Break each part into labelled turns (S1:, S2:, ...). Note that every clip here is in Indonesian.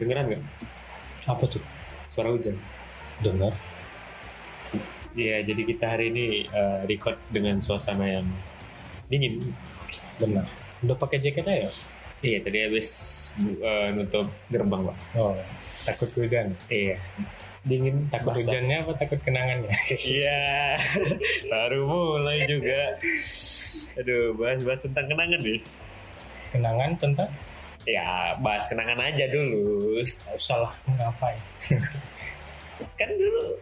S1: Dengeran nggak
S2: Apa tuh?
S1: suara hujan?
S2: Dengar.
S1: Iya, jadi kita hari ini eh, record dengan suasana yang dingin.
S2: Benar. Udah pakai jaket aja?
S1: Iya, tadi habis bu- eh, nutup gerbang, Pak.
S2: Oh, takut hujan.
S1: Iya. Dingin,
S2: Takut
S1: basah.
S2: hujannya apa takut kenangannya?
S1: Iya, baru mulai juga. Aduh, bahas-bahas tentang kenangan nih.
S2: Kenangan tentang
S1: Ya, bahas kenangan aja dulu.
S2: salah ngapain?
S1: Kan dulu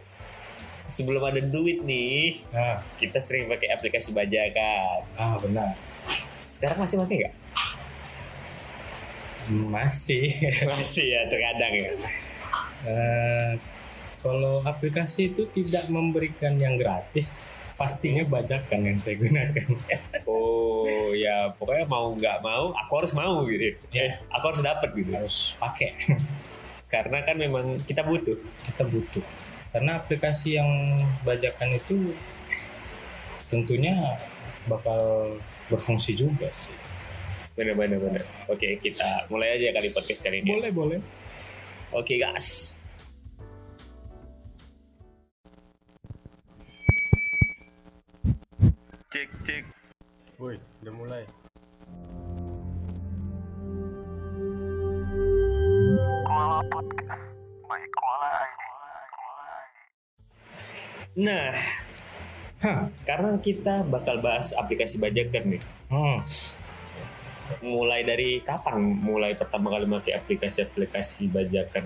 S1: sebelum ada duit nih,
S2: Nah,
S1: kita sering pakai aplikasi bajakan.
S2: ah benar.
S1: Sekarang masih pakai nggak?
S2: Masih.
S1: Masih ya, terkadang ya.
S2: Eh, kalau aplikasi itu tidak memberikan yang gratis, pastinya bajakan yang saya gunakan. Ya,
S1: Oh ya pokoknya mau nggak mau aku harus mau gitu.
S2: Ya.
S1: Eh, aku harus dapat gitu.
S2: Harus pakai.
S1: Karena kan memang kita butuh.
S2: Kita butuh. Karena aplikasi yang bajakan itu tentunya bakal berfungsi juga sih.
S1: Bener bener bener. Oke kita mulai aja kali podcast kali ini.
S2: Boleh, boleh.
S1: Oke gas.
S3: cek cek
S2: Woi, udah mulai.
S1: Nah
S2: Hah.
S1: karena kita bakal bahas aplikasi bajakan nih.
S2: Hmm.
S1: Mulai dari kapan mulai pertama kali pakai aplikasi-aplikasi bajakan?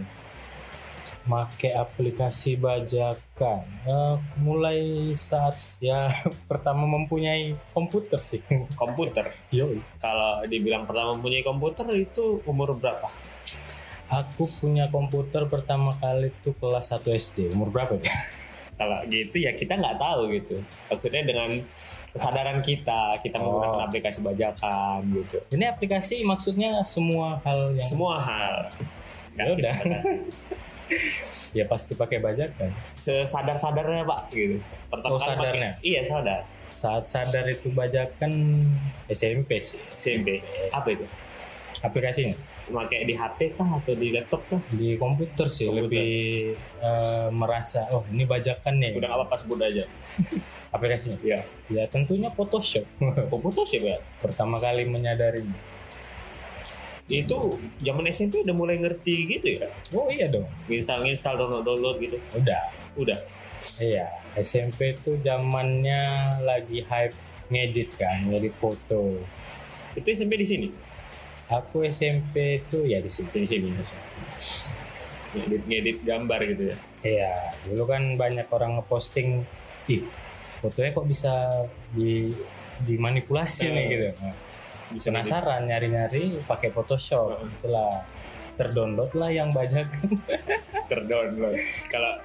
S2: Make aplikasi bajakan. Eh, mulai saat ya pertama mempunyai komputer sih.
S1: Komputer.
S2: Yo,
S1: Kalau dibilang pertama punya komputer itu umur berapa?
S2: aku punya komputer pertama kali tuh kelas 1 SD. Umur berapa ya?
S1: kalau gitu ya kita nggak tahu gitu maksudnya dengan kesadaran kita kita
S2: Oh.
S1: menggunakan aplikasi bajakan gitu
S2: Ini aplikasi maksudnya semua hal yang
S1: semua hal
S2: Ya udah.
S1: Kita
S2: ya pasti pakai bajakan.
S1: sesadar sadarnya pak gitu pertama
S2: Oh,
S1: kali pakai-
S2: sadarnya?
S1: iya sadar
S2: Saat sadar itu bajakan SMP sih
S1: SMP apa itu
S2: aplikasinya.
S1: pakai di HP kah atau di laptop kah
S2: Di komputer sih
S1: Komputer.
S2: lebih eh, merasa oh ini bajakan nih
S1: udah nggak apa-apa sebut aja
S2: aplikasinya.
S1: ya
S2: Ya tentunya Photoshop.
S1: komputer sih Oh, ya, pak
S2: pertama kali menyadarinya.
S1: itu zaman SMP udah mulai ngerti gitu ya
S2: Oh iya dong,
S1: install install download download gitu
S2: udah.
S1: udah
S2: Iya, SMP itu zamannya lagi hype ngedit kan, ngedit foto.
S1: itu SMP di sini
S2: Aku SMP itu ya di situ.
S1: di sini ngedit ngedit gambar gitu ya
S2: Iya, dulu kan banyak orang ngeposting, ih fotonya kok bisa di dimanipulasi
S1: Eh,
S2: nih gitu. Nah,
S1: bisa ngedit.
S2: penasaran nyari-nyari pakai Photoshop,
S1: Heeh.
S2: itulah terdownload lah yang bajakan.
S1: terdownload. Kalau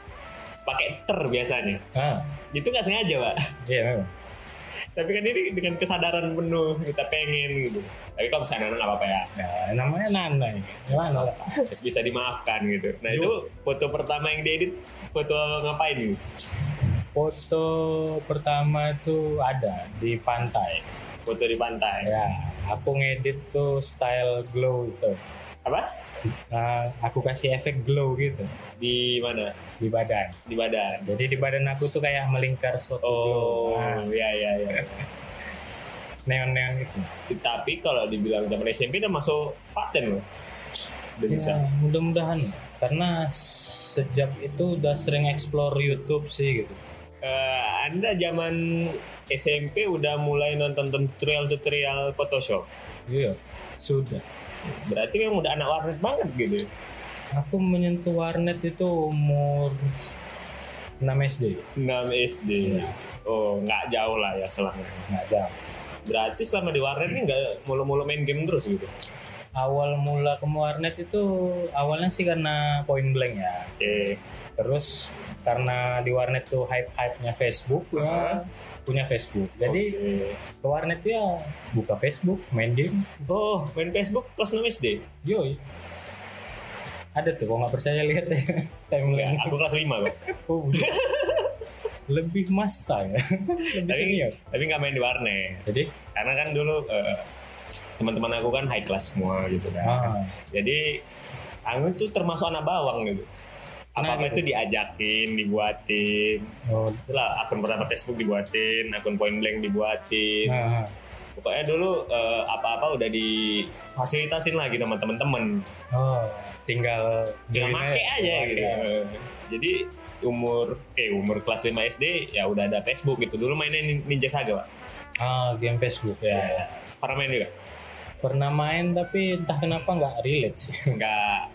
S1: pakai ter biasanya,
S2: ah,
S1: itu nggak sengaja pak.
S2: iya memang.
S1: Tapi kan ini dengan kesadaran penuh kita pengen gitu. Tapi kalau misalnya anak nggak apa-apa ya,
S2: Nah, namanya Nana, ya. Nana lah.
S1: terus bisa dimaafkan gitu. Nah itu foto pertama yang diedit, foto ngapain gitu?
S2: Foto pertama itu ada di pantai.
S1: Foto di pantai.
S2: Ya, aku ngedit tuh style glow itu.
S1: Apa?
S2: Nah, aku kasih efek glow gitu
S1: Di mana?
S2: di badan.
S1: Di badan.
S2: Jadi di badan aku tuh kayak melingkar suatu
S1: Oh,
S2: glow. Nah,
S1: iya iya iya.
S2: neon-neon gitu.
S1: Tapi kalau dibilang zaman SMP udah masuk paten loh. Udah bisa.
S2: Ya, mudah-mudahan karena sejak itu udah sering explore YouTube sih gitu.
S1: Eh, anda zaman SMP udah mulai nonton tutorial-tutorial Photoshop.
S2: Iya, sudah.
S1: Berarti memang udah anak warnet banget gitu.
S2: Aku menyentuh warnet itu umur 6 SD.
S1: 6 SD.
S2: Iya.
S1: Oh, nggak jauh lah ya selama.
S2: Nggak jauh.
S1: Berarti selama di warnet ini nggak mulu-mulu main game terus gitu.
S2: awal mula ke warnet itu awalnya sih karena point blank ya
S1: Oke.
S2: terus karena di warnet tuh hype hype nya Facebook ya,
S1: Heeh.
S2: punya Facebook jadi
S1: Oke.
S2: ke warnet tuh ya buka Facebook main game
S1: Oh, main Facebook kelas 6 SD.
S2: yoi ada tuh kok nggak percaya lihat ya
S1: Nggak,
S2: timeline
S1: aku kelas 5 kok.
S2: oh, iya. lebih masta ya lebih
S1: Tapi-
S2: senior
S1: Tapi nggak main di warnet.
S2: jadi
S1: Karena Ya. kan dulu eh, teman-teman aku kan high class semua gitu kan.
S2: ah,
S1: Jadi Anggun tuh termasuk anak bawang gitu.
S2: Nah,
S1: Apa-apa
S2: gitu.
S1: itu diajakin, dibuatin.
S2: Oh,
S1: Itulah akun pertama Facebook dibuatin, akun Point Blank dibuatin.
S2: nah,
S1: Pokoknya dulu eh, apa-apa udah difasilitasin lagi sama temen-temen.
S2: oh, tinggal
S1: Jangan
S2: join Oh, iya.
S1: make aja
S2: Pakai.
S1: gitu. Jadi umur eh umur kelas 5 SD ya udah ada Facebook gitu. Dulu mainnya Nin- Ninja Saga, Pak.
S2: Ah, game Facebook ya.
S1: Para main juga.
S2: Pernah main tapi entah kenapa nggak relate sih.
S1: Nggak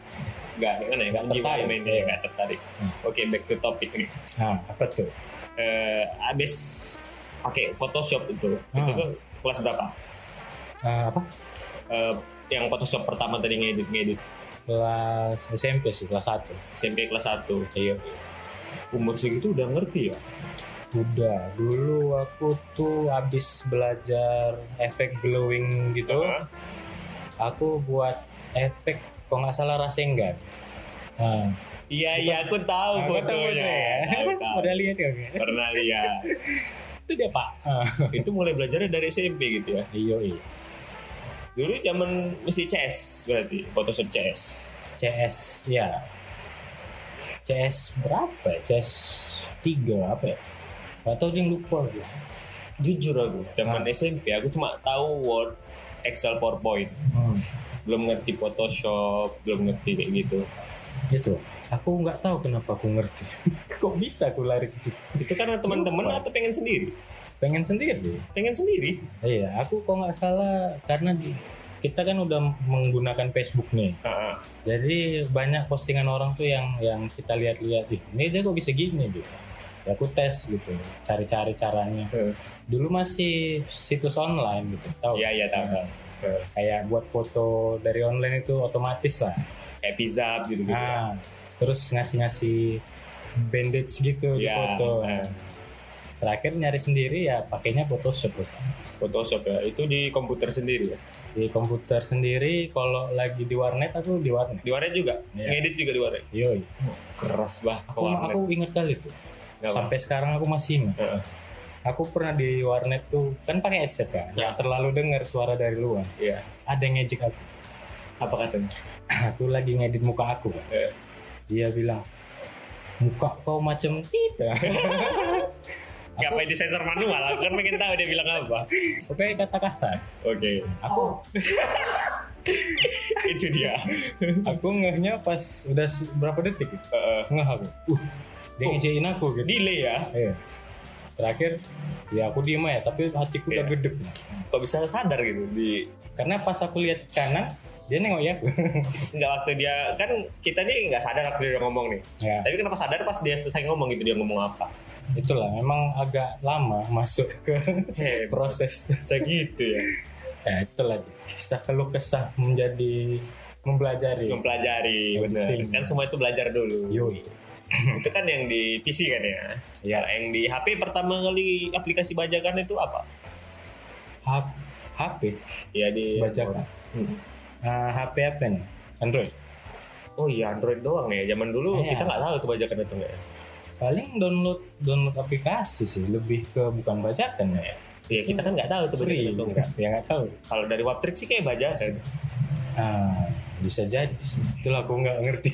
S1: nggak gimana ya? Nggak
S2: Nggak
S1: tertarik
S2: tertarik.
S1: mainnya, nggak tertarik. Oke, back to topic nih.
S2: Nah, apa tuh?
S1: Eh, abis pakai Photoshop itu. Itu
S2: Hmm.
S1: tuh kelas berapa?
S2: Ah, apa?
S1: Eh, yang Photoshop pertama tadi ngedit ngedit
S2: Kelas SMP sih, kelas 1.
S1: SMP kelas 1 iya umur segitu udah ngerti ya
S2: Udah, dulu aku tuh habis belajar efek glowing gitu.
S1: Hah?
S2: Aku buat efek kalau nggak salah Rasengan. Nah,
S1: iya iya aku tahu
S2: aku tahu
S1: fotonya
S2: tuh ya.
S1: Tahu, tahu.
S2: Udah lihat ya? Oke.
S1: pernah lihat
S2: Itu dia, Pak. Iya, Ah,
S1: itu mulai belajarnya dari SMP gitu ya
S2: Iyo, iyo.
S1: dulu zaman mesti CS berarti Photoshop CS
S2: CS ya CS berapa ya? CS 3 apa ya atau yang lupa gue
S1: jujur aku zaman
S2: Hah?
S1: SMP aku cuma tahu Word Excel PowerPoint
S2: hmm.
S1: belum ngerti Photoshop belum ngerti kayak gitu
S2: itu aku nggak tahu kenapa aku ngerti kok bisa aku lari ke situ
S1: itu karena teman-teman atau pengen sendiri
S2: pengen sendiri
S1: pengen sendiri
S2: iya aku kok nggak salah karena di, kita kan udah menggunakan Facebook nih
S1: Heeh.
S2: jadi banyak postingan orang tuh yang yang kita lihat-lihat "Ih, ini dia kok bisa gini gitu ya aku tes gitu cari-cari caranya
S1: Hmm.
S2: dulu masih situs online gitu tahu
S1: iya iya tahu tahu. Heeh.
S2: kayak buat foto dari online itu otomatis lah.
S1: kayak pizza gitu gitu
S2: Nah, terus ngasih-ngasih bandage gitu di
S1: Ya,
S2: foto.
S1: eh.
S2: Terakhir nyari sendiri ya pakainya Photoshop loh.
S1: Photoshop ya itu di komputer sendiri ya
S2: Di komputer sendiri kalau lagi di warnet aku di warnet.
S1: di warnet juga
S2: Iya.
S1: ngedit juga di warnet
S2: Yoi.
S1: Oh, keras bah ke
S2: Aku,
S1: warnet
S2: aku inget kali tuh.
S1: Nggak apa.
S2: Sampai sekarang aku masih ingat.
S1: Heeh.
S2: Aku pernah di warnet tuh kan pakai headset kan.
S1: Ya.
S2: Nggak terlalu dengar suara dari luar.
S1: iya
S2: Ada yang ngejek aku.
S1: apa katanya
S2: Aku lagi ngedit muka aku kan.
S1: Eh,
S2: dia bilang muka kau macam kita aku
S1: ngapain di sensor manual aku kan pengen tahu dia bilang apa
S2: oke kata kasar
S1: oke
S2: aku
S1: Oh. itu dia
S2: aku ngehnya pas udah se- berapa detik ya?
S1: Heeh.
S2: ngeh aku uh, dia
S1: Oh.
S2: ngecewain aku gitu
S1: Ah, delay ya
S2: Iya. terakhir ya aku diem ya tapi hatiku udah
S1: Iya.
S2: gedek
S1: kok bisa sadar gitu di
S2: karena pas aku lihat ke kanan dia nengok ya aku
S1: nggak waktu dia kan kita nih nggak sadar waktu dia udah ngomong nih Nah,
S2: ya
S1: tapi kenapa sadar pas dia selesai ngomong gitu dia ngomong apa
S2: itulah memang agak lama masuk ke
S1: heh
S2: proses
S1: segitu ya
S2: ya itulah kisah keluh kesah menjadi mempelajari Iya,
S1: mempelajari bener
S2: Penting.
S1: kan semua itu belajar dulu
S2: yoi
S1: itu kan yang di PC kan ya
S2: Iya.
S1: Kalau yang di HP pertama kali aplikasi bajakan itu apa
S2: H- HP
S1: ya di
S2: bajakan
S1: Hmm.
S2: Ah, HP apa nih? Android.
S1: oh iya Android doang ya zaman dulu
S2: Iya.
S1: kita nggak tahu tuh bajakan itu nggak ya
S2: Paling download download aplikasi sih, lebih ke bukan bajakan ya.
S1: Iya kita kan nggak tahu tuh bajakan
S2: Free,
S1: itu nggak
S2: ya nggak tahu.
S1: kalau dari Waptrik sih kayak bajakan
S2: Ah, bisa jadi sih. Itulah aku nggak ngerti.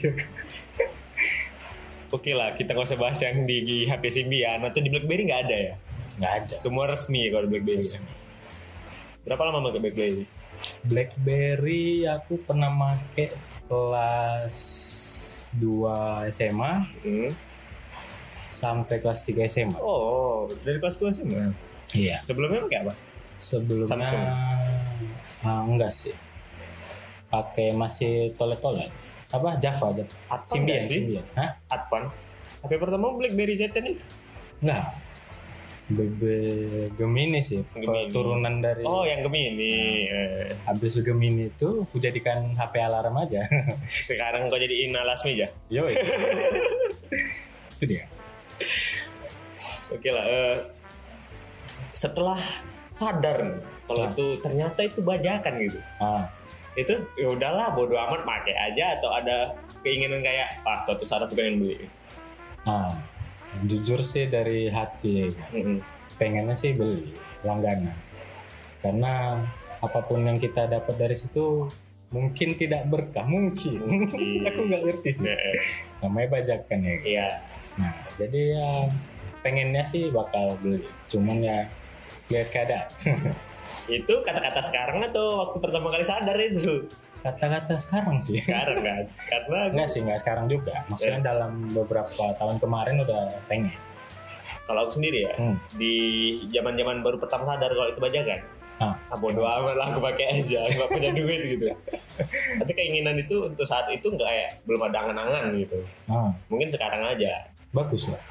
S1: oke lah kita nggak usah bahas yang di HP Symbian atau di BlackBerry nggak ada ya
S2: Nggak ada.
S1: semua resmi kalau di BlackBerry ya? berapa lama pakai BlackBerry
S2: BlackBerry aku pernah make kelas 2 SMA
S1: Hmm.
S2: sampai kelas 3 SMA.
S1: oh dari kelas 2 SMA
S2: Iya.
S1: sebelumnya pakai apa
S2: Sebelumnya
S1: Samsung.
S2: Ah, enggak sih. Pakai masih tolet-tolet. Apa Java Java.
S1: Advan
S2: Symbian,
S1: nggak sih?
S2: Symbian. Hah?
S1: Advan HP pertama BlackBerry Z10 itu
S2: Enggak. BB Gemini sih,
S1: Gemini.
S2: turunan dari
S1: oh yang Gemini Eh.
S2: habis Gemini itu aku jadikan HP alarm aja.
S1: Sekarang kau jadi Ina ya? Lasmija.
S2: Yo. itu dia.
S1: Oke lah. eh, setelah sadar nih, kalau
S2: Nah.
S1: itu ternyata itu bajakan gitu.
S2: Ah,
S1: Itu ya udahlah bodo amat pakai aja atau ada keinginan kayak ah suatu saat aku pengen beli.
S2: ah. Jujur sih dari hati
S1: Mm-mm.
S2: pengennya sih beli langganan. Karena apapun yang kita dapat dari situ mungkin tidak berkah mungkin,
S1: Mungkin.
S2: aku nggak ngerti sih
S1: Eh,
S2: namanya bajakan ya
S1: Iya.
S2: nah jadi ya pengennya sih bakal beli cuman ya lihat keadaan
S1: Itu kata-kata sekarang atau waktu pertama kali sadar itu?
S2: kata-kata sekarang sih
S1: Sekarang kan. Karena
S2: enggak sih enggak sekarang juga maksudnya dalam beberapa tahun kemarin udah pengen
S1: kalau aku sendiri ya
S2: Hmm.
S1: di zaman-zaman baru pertama sadar kalau itu bajakan.
S2: Ah.
S1: Ah, bodo amat lah aku pakai aja, nggak punya duit gitu. Tapi keinginan itu untuk saat itu nggak kayak belum ada angan-angan gitu.
S2: nah,
S1: Mungkin sekarang aja.
S2: bagus lah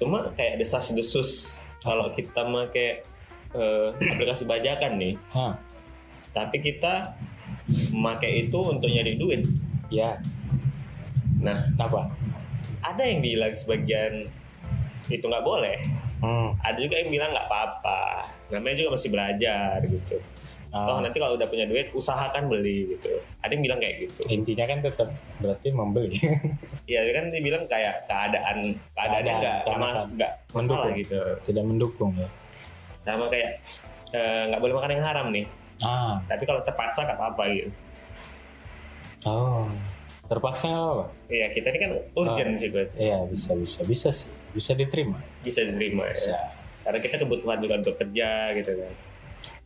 S1: cuma kayak desas-desus kalau kita pakai eh, aplikasi bajakan nih
S2: nah,
S1: tapi kita memakai itu untuk nyari duit
S2: ya
S1: nah
S2: apa
S1: ada yang bilang sebagian itu nggak boleh
S2: hmm.
S1: ada juga yang bilang nggak apa-apa namanya juga masih belajar gitu toh
S2: ah,
S1: nanti kalau udah punya duit usahakan beli gitu ada yang bilang kayak gitu
S2: intinya kan tetap berarti membeli
S1: iya kan dia bilang kayak keadaan keadaannya
S2: Keadaan,
S1: nggak
S2: keadaan.
S1: emang nggak masalah
S2: Mendukung.
S1: gitu
S2: tidak mendukung ya
S1: sama kayak eh, nggak boleh makan yang haram nih
S2: ah
S1: tapi kalau terpaksa nggak apa-apa gitu
S2: oh terpaksa nggak apa-apa
S1: Iya kita ini kan urgent situasi
S2: Iya bisa bisa bisa sih bisa diterima
S1: bisa diterima ya.
S2: bisa
S1: karena kita kebutuhan juga untuk kerja gitu kan.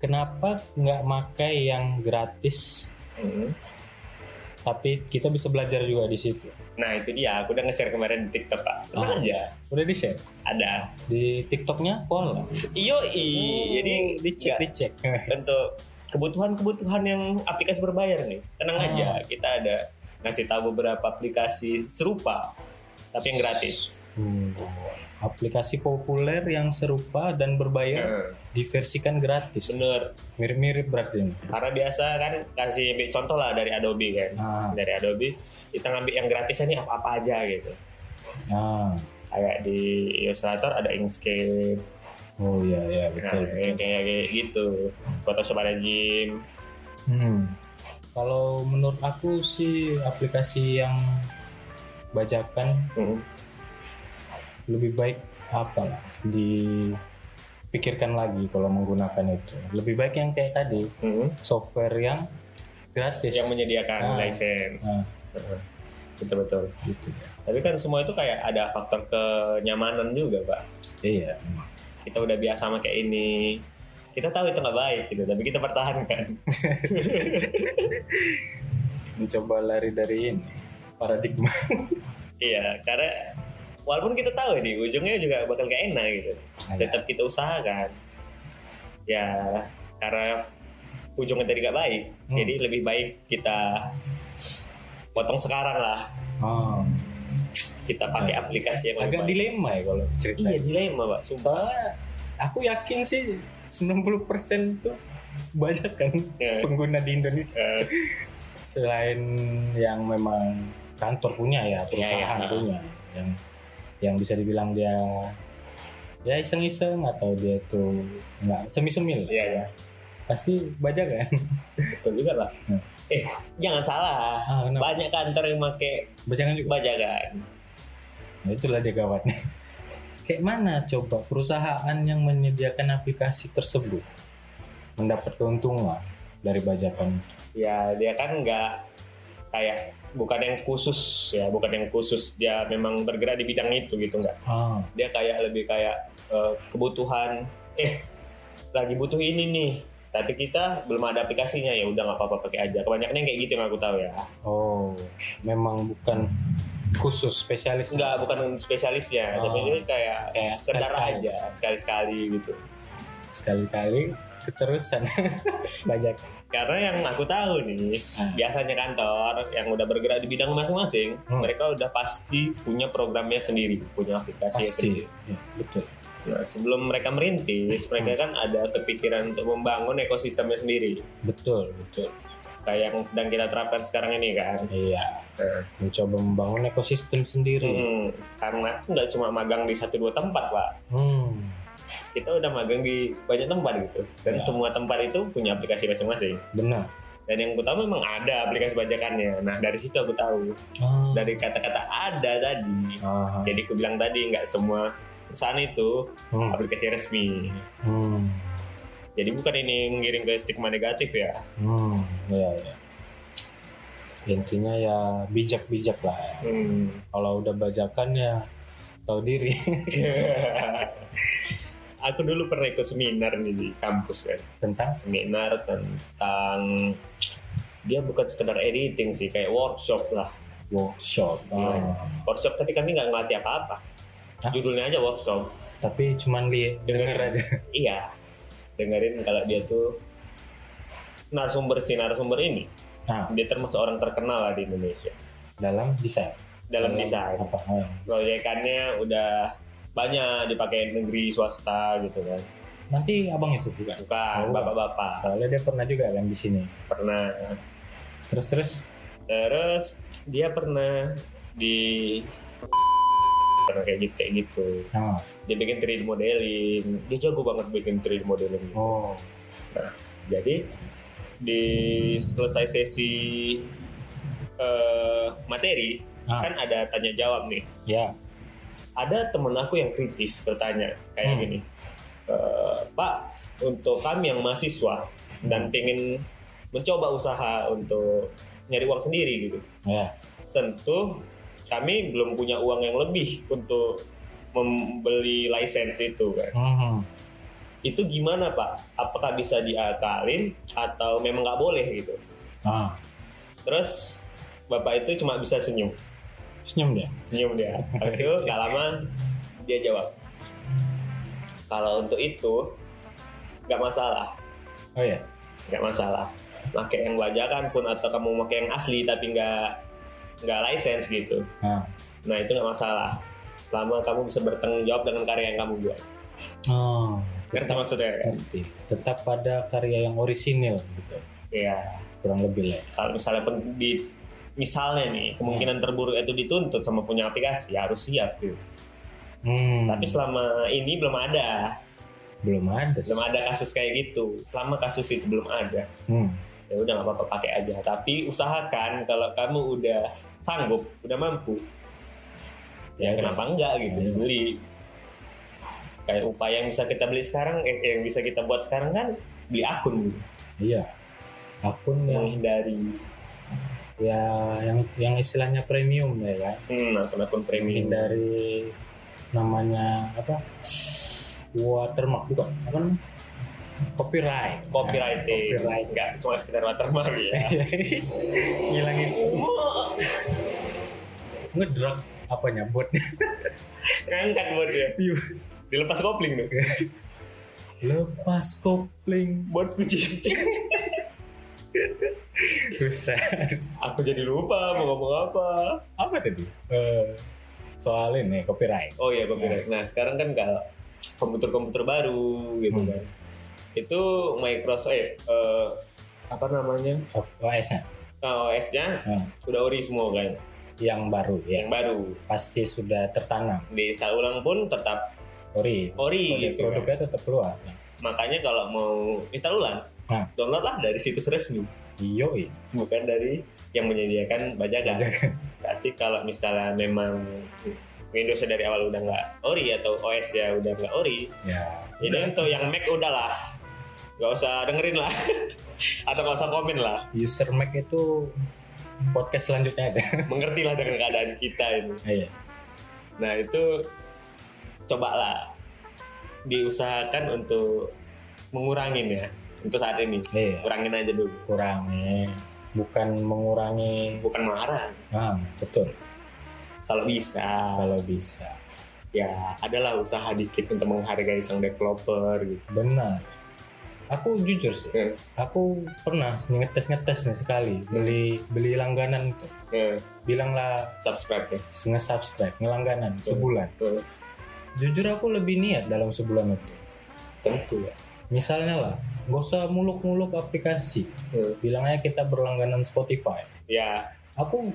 S2: kenapa nggak makai yang gratis
S1: Mm.
S2: tapi kita bisa belajar juga di situ
S1: Nah itu dia aku udah nge-share kemarin di TikTok pak.
S2: Ah.
S1: Tenang aja
S2: udah di share
S1: ada.
S2: di TikToknya Iya. pola
S1: Iyo
S2: Oh,
S1: i jadi
S2: dicek
S1: nggak-
S2: dicek
S1: untuk kebutuhan-kebutuhan yang aplikasi berbayar nih tenang
S2: Ah.
S1: aja kita ada ngasih tahu beberapa aplikasi serupa tapi yang gratis.
S2: Hmm. aplikasi populer yang serupa dan berbayar
S1: Nah,
S2: diversikan gratis
S1: Bener
S2: mirip-mirip berarti ini
S1: karena biasa kan kasih ambil contoh lah dari Adobe kan.
S2: ah,
S1: Dari Adobe kita ngambil yang gratisnya nih apa-apa aja gitu.
S2: ah.
S1: kayak di Illustrator ada Inkscape
S2: oh iya iya
S1: nah,
S2: betul,
S1: kayak
S2: betul.
S1: kayak kayak gitu Photoshop ada Jim
S2: Hmm. kalau menurut aku sih aplikasi yang bajakan
S1: mm-hmm,
S2: lebih baik apa lah, dipikirkan lagi kalau menggunakan itu lebih baik yang kayak tadi
S1: Mhm.
S2: software yang gratis
S1: yang menyediakan
S2: Ah.
S1: license betul betul
S2: gitu ya
S1: tapi kan semua itu kayak ada faktor kenyamanan juga pak
S2: iya
S1: kita udah biasa sama kayak ini kita tahu itu nggak baik gitu tapi kita pertahankan
S2: mencoba lari dari ini paradigma
S1: iya karena walaupun kita tahu ini ujungnya juga bakal gak enak gitu
S2: Ah, iya.
S1: tetap kita usahakan ya karena ujungnya tadi gak baik
S2: Hmm.
S1: jadi lebih baik kita potong sekarang lah
S2: oh,
S1: kita pakai aplikasi yang
S2: Nah. agak
S1: lebih baik.
S2: dilema ya kalau cerita
S1: iya
S2: ini.
S1: dilema pak sumpah
S2: soalnya aku yakin sih 90% itu banyak kan
S1: Ya.
S2: pengguna di Indonesia
S1: Eh,
S2: selain yang memang kantor punya ya perusahaan
S1: ya.
S2: punya yang yang bisa dibilang dia ya iseng-iseng atau dia itu nggak semi-semi lah
S1: iya ya
S2: pasti bajak kan
S1: betul juga pak
S2: Hmm.
S1: eh jangan salah
S2: ah, kenapa?
S1: banyak kantor yang pakai
S2: bajakan juga
S1: bajakan
S2: Nah, itulah dia gawatnya kayak mana coba perusahaan yang menyediakan aplikasi tersebut mendapat keuntungan dari bajakan
S1: ya dia kan nggak kayak bukan yang khusus ya bukan yang khusus dia memang bergerak di bidang itu gitu nggak
S2: ah
S1: dia kayak lebih kayak eh, kebutuhan eh lagi butuh ini nih tapi kita belum ada aplikasinya ya udah nggak apa-apa pakai aja kebanyakan yang kayak gitu yang aku tahu ya
S2: oh memang bukan khusus spesialis
S1: nggak bukan spesialisnya tapi
S2: Oh.
S1: ini kayak
S2: Kayak
S1: sekedar
S2: sekali-sekali.
S1: aja sekali-sekali gitu
S2: sekali-kali keterusan bajak
S1: karena yang aku tahu nih
S2: Ah.
S1: biasanya kantor yang udah bergerak di bidang masing-masing
S2: Hmm.
S1: mereka udah pasti punya programnya sendiri punya aplikasi sendiri
S2: pasti Ya, betul
S1: nah sebelum mereka merintis
S2: Hmm.
S1: mereka kan ada kepikiran untuk membangun ekosistemnya sendiri
S2: betul betul
S1: kayak yang sedang kita terapkan sekarang ini kan.
S2: iya mencoba membangun ekosistem sendiri
S1: Hmm, karena aku nggak cuma magang di satu dua tempat pak,
S2: hmm.
S1: kita udah magang di banyak tempat gitu. Dan
S2: Ya.
S1: semua tempat itu punya aplikasi masing-masing.
S2: benar
S1: Dan yang aku tahu memang ada aplikasi bajakannya. Nah dari situ aku tahu
S2: Ah.
S1: dari kata-kata ada tadi.
S2: Ah.
S1: Jadi aku bilang tadi nggak semua perusahaan itu
S2: Hmm.
S1: aplikasi resmi.
S2: Hmm.
S1: Jadi bukan ini mengirim ke stigma negatif ya.
S2: Hmm, ya, ya. intinya ya bijak-bijak lah ya.
S1: Hmm.
S2: kalau udah bajakan ya tahu diri
S1: Aku dulu pernah ikut seminar nih di kampus kan.
S2: tentang
S1: Seminar tentang dia bukan sekedar editing sih, kayak workshop lah.
S2: workshop
S1: Iya.
S2: Oh.
S1: Workshop tapi kami nggak ngelatih apa-apa.
S2: Hah?
S1: Judulnya aja workshop.
S2: tapi cuman li denger aja
S1: Iya. Dengerin kalau dia tuh narasumber si narasumber ini.
S2: nah
S1: Dia termasuk orang terkenal lah di Indonesia
S2: dalam desain
S1: dalam desain.
S2: apa oh,
S1: Proyekannya udah banyak dipakai negeri swasta gitu kan.
S2: nanti abang itu bukan
S1: Bukan
S2: Oh.
S1: bapak-bapak.
S2: soalnya dia pernah juga kan di sini
S1: Pernah
S2: terus terus
S1: Terus dia pernah di pernah kayak gitu kayak gitu.
S2: nah
S1: Dia bikin 3D modeling. Dia jago banget bikin 3D modeling.
S2: oh
S1: Jadi di selesai sesi eh, materi
S2: Ah.
S1: kan ada tanya jawab nih.
S2: ya
S1: Ada temen aku yang kritis bertanya kayak
S2: Hmm.
S1: gini. "Eh, Pak, untuk kami yang mahasiswa dan pengen mencoba usaha untuk nyari uang sendiri gitu.
S2: ya
S1: tentu kami belum punya uang yang lebih untuk membeli lisensi itu kan.
S2: Mhm.
S1: Itu gimana Pak? Apakah bisa diakalin atau memang nggak boleh gitu?
S2: ah
S1: Terus Bapak itu cuma bisa senyum,
S2: senyum dia
S1: senyum dia. Habis itu nggak lama dia jawab, kalau untuk itu nggak masalah,
S2: oh ya
S1: nggak masalah. Pakai yang bajakan pun atau kamu pakai yang asli tapi nggak nggak license gitu.
S2: nah
S1: Nah itu nggak masalah. Selama kamu bisa bertanggung jawab dengan karya yang kamu buat.
S2: oh
S1: Ngerti maksudnya? kan?
S2: ngerti tetap pada karya yang orisinil gitu
S1: Iya.
S2: kurang lebih lah ya.
S1: Kalau misalnya pen- di misalnya nih kemungkinan terburuk itu dituntut sama punya aplikasi ya harus siap gitu.
S2: hmm,
S1: Tapi selama ini belum ada,
S2: belum ada sih.
S1: belum ada kasus kayak gitu. Selama kasus itu belum ada,
S2: Hmm.
S1: ya udah nggak apa-apa pakai aja. Tapi usahakan kalau kamu udah sanggup, udah mampu, ya kenapa enggak gitu
S2: Ya, ya.
S1: beli kayak upaya yang bisa kita beli sekarang eh, yang bisa kita buat sekarang kan beli akun gitu.
S2: iya akun yang
S1: menghindari
S2: ya yang yang istilahnya premium lah ya
S1: hmm, akun-akun premium
S2: hindari namanya apa watermark bukan apa namanya? copyright
S1: copyright
S2: Copyright.
S1: enggak cuma sekedar watermark ya
S2: ngilangin ngedrop apanya buat
S1: ngangkat buat dia dilepas kopling tuh
S2: lepas kopling
S1: buat kucing
S2: susah
S1: aku jadi lupa mau ngomong apa
S2: apa tadi Eh, soal ini copyright
S1: oh iya copyright nah sekarang kan kalau komputer-komputer baru gitu
S2: Hmm.
S1: kan itu Microsoft eh, eh, apa namanya eh,
S2: OS nya
S1: OS-nya udah ori semua kan
S2: yang baru ya
S1: yang baru
S2: pasti sudah tertanam
S1: di install ulang pun tetap
S2: ori
S1: ori
S2: Kode
S1: gitu kan.
S2: produknya tetap keluar
S1: makanya kalau mau install ulang
S2: Nah.
S1: download lah dari situs resmi
S2: yoi
S1: bukan dari yang menyediakan bajakan
S2: Hmm. Bajakan.
S1: tapi kalau misalnya memang Windows dari awal udah nggak ori atau OS ya udah nggak ori
S2: ya
S1: ini untuk yang Mac udahlah nggak usah dengerin lah atau nggak usah komen lah
S2: user Mac itu podcast selanjutnya ada.
S1: mengertilah dengan keadaan kita ini
S2: Iya.
S1: nah itu cobalah diusahakan untuk mengurangin ya untuk saat ini
S2: Iya.
S1: kurangin aja dulu
S2: Kurangi bukan mengurangi.
S1: bukan marah
S2: Ah, betul.
S1: kalau bisa
S2: Kalau bisa.
S1: ya adalah usaha dikit untuk menghargai sang developer gitu
S2: Benar. Aku jujur sih,
S1: Hmm.
S2: aku pernah ngetes-ngetes nih sekali beli beli langganan itu.
S1: Eh,
S2: Bilanglah
S1: subscribe ya
S2: nge-subscribe, ngelangganan sebulan.
S1: Tuh,
S2: Jujur aku lebih niat dalam sebulan itu.
S1: tentu ya
S2: Misalnya lah, gak usah muluk-muluk aplikasi.
S1: Eh,
S2: Bilangnya kita berlangganan Spotify.
S1: ya
S2: aku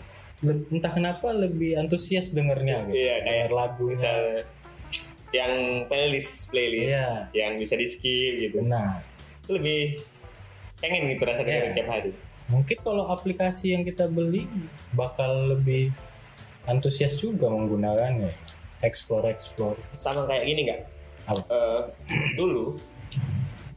S2: le- entah kenapa lebih antusias dengernya gitu.
S1: Iya, kayak
S2: Denger lagunya.
S1: misal yang playlist playlist
S2: Iya.
S1: yang bisa di skip gitu
S2: Nah,
S1: Itu lebih pengen gitu rasanya
S2: Iya.
S1: dengerin tiap hari
S2: mungkin kalau aplikasi yang kita beli bakal lebih antusias juga menggunakannya. Explore, explore.
S1: sama kayak gini nggak
S2: Apa?
S1: Eh, dulu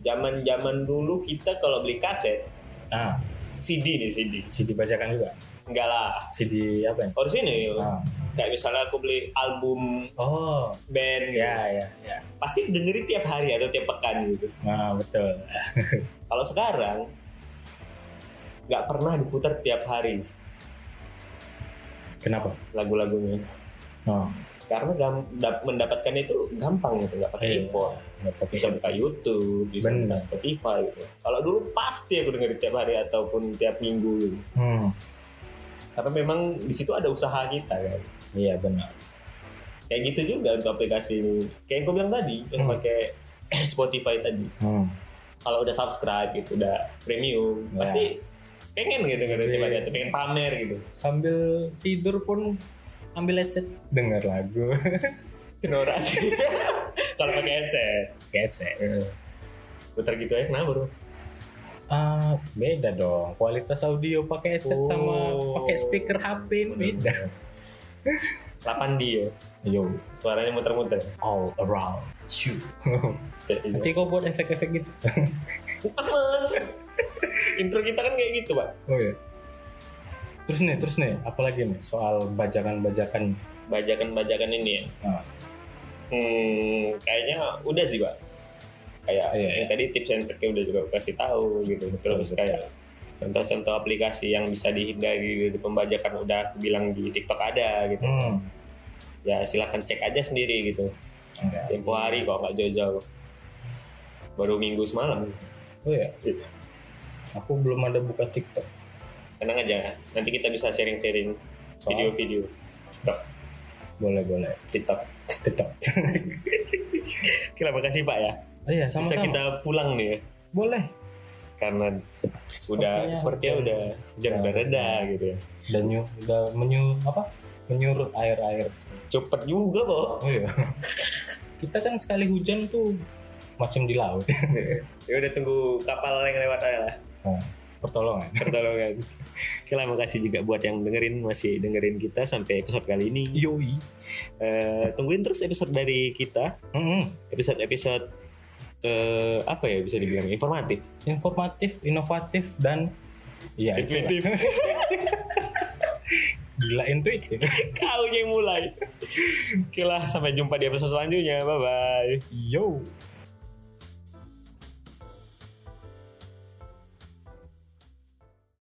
S1: zaman zaman dulu kita kalau beli kaset
S2: Nah,
S1: CD nih CD
S2: CD bajakan juga
S1: enggak lah
S2: CD apa ya
S1: harus ini
S2: Ah.
S1: kayak misalnya aku beli album
S2: oh
S1: band gitu
S2: ya ya ya
S1: pasti dengerin tiap hari atau tiap pekan gitu
S2: nah betul
S1: kalau sekarang nggak pernah diputar tiap hari
S2: kenapa
S1: lagu-lagunya
S2: oh
S1: karena gam- dap- mendapatkan itu gampang gitu nggak pakai
S2: Iya.
S1: impor
S2: nggak pakai
S1: bisa buka YouTube bisa buka
S2: Benar.
S1: Spotify gitu kalau dulu pasti aku dengerin tiap hari ataupun tiap minggu gitu.
S2: hmm
S1: karena memang di situ ada usaha kita kan
S2: iya benar
S1: kayak gitu juga untuk aplikasi ini kayak yang gue bilang tadi yang
S2: Hmm.
S1: pakai Spotify tadi
S2: hmm
S1: kalau udah subscribe gitu udah premium
S2: Ya.
S1: pasti pengen gitu dengerin
S2: Iya.
S1: tiap hari atau pengen pamer gitu
S2: sambil tidur pun ambil headset dengar lagu
S1: Kenora sih. Kalau pakai headset,
S2: headset
S1: putar gitu aja kenapa bro?
S2: ah beda dong kualitas audio pakai headset sama
S1: Oh.
S2: pakai speaker HP ini beda
S1: 8 D ya,
S2: yo
S1: suaranya muter-muter.
S2: all around you
S1: Jadi,
S2: nanti kau buat efek-efek gitu
S1: Intro kita kan kayak gitu pak.
S2: oh iya terus nih terus nih apalagi nih soal bajakan-bajakan
S1: Bajakan-bajakan ini ya.
S2: Ah.
S1: Hmm, kayaknya udah sih pak. Kayak
S2: Iya,
S1: yang tadi tips and triknya udah juga aku kasih tahu gitu. Terus
S2: betul.
S1: kayak contoh-contoh aplikasi yang bisa dihindari dari pembajakan udah aku bilang di TikTok ada gitu.
S2: hmm
S1: Ya silahkan cek aja sendiri gitu.
S2: enggak.
S1: tempo hari kok nggak jauh-jauh baru minggu semalam
S2: oh iya aku belum ada buka TikTok
S1: tenang aja nanti kita bisa sharing-sharing video-video TikTok
S2: boleh boleh
S1: TikTok
S2: TikTok
S1: terima kasih Pak ya
S2: oh iya
S1: bisa
S2: sama-sama
S1: kita pulang nih ya
S2: boleh
S1: karena udah
S2: Sepertinya
S1: sepertinya
S2: hujan.
S1: udah hujan udah
S2: Udah.
S1: reda gitu ya
S2: dan nyu udah menyu apa menyurut air air
S1: cepet juga Bo
S2: oh iya kita kan sekali hujan tuh macam di laut
S1: ya udah tunggu kapal yang lewat aja lah
S2: Nah, pertolongan
S1: pertolongan terima kasih juga buat yang dengerin masih dengerin kita sampai episode kali ini
S2: yoi
S1: Eh, tungguin terus episode dari kita
S2: Mm-mm.
S1: episode-episode eh, apa ya bisa dibilang informatif
S2: informatif inovatif dan iya itulah.
S1: intuitif
S2: gila intuitif
S1: kau yang mulai oke lah sampai jumpa di episode selanjutnya bye bye
S2: yo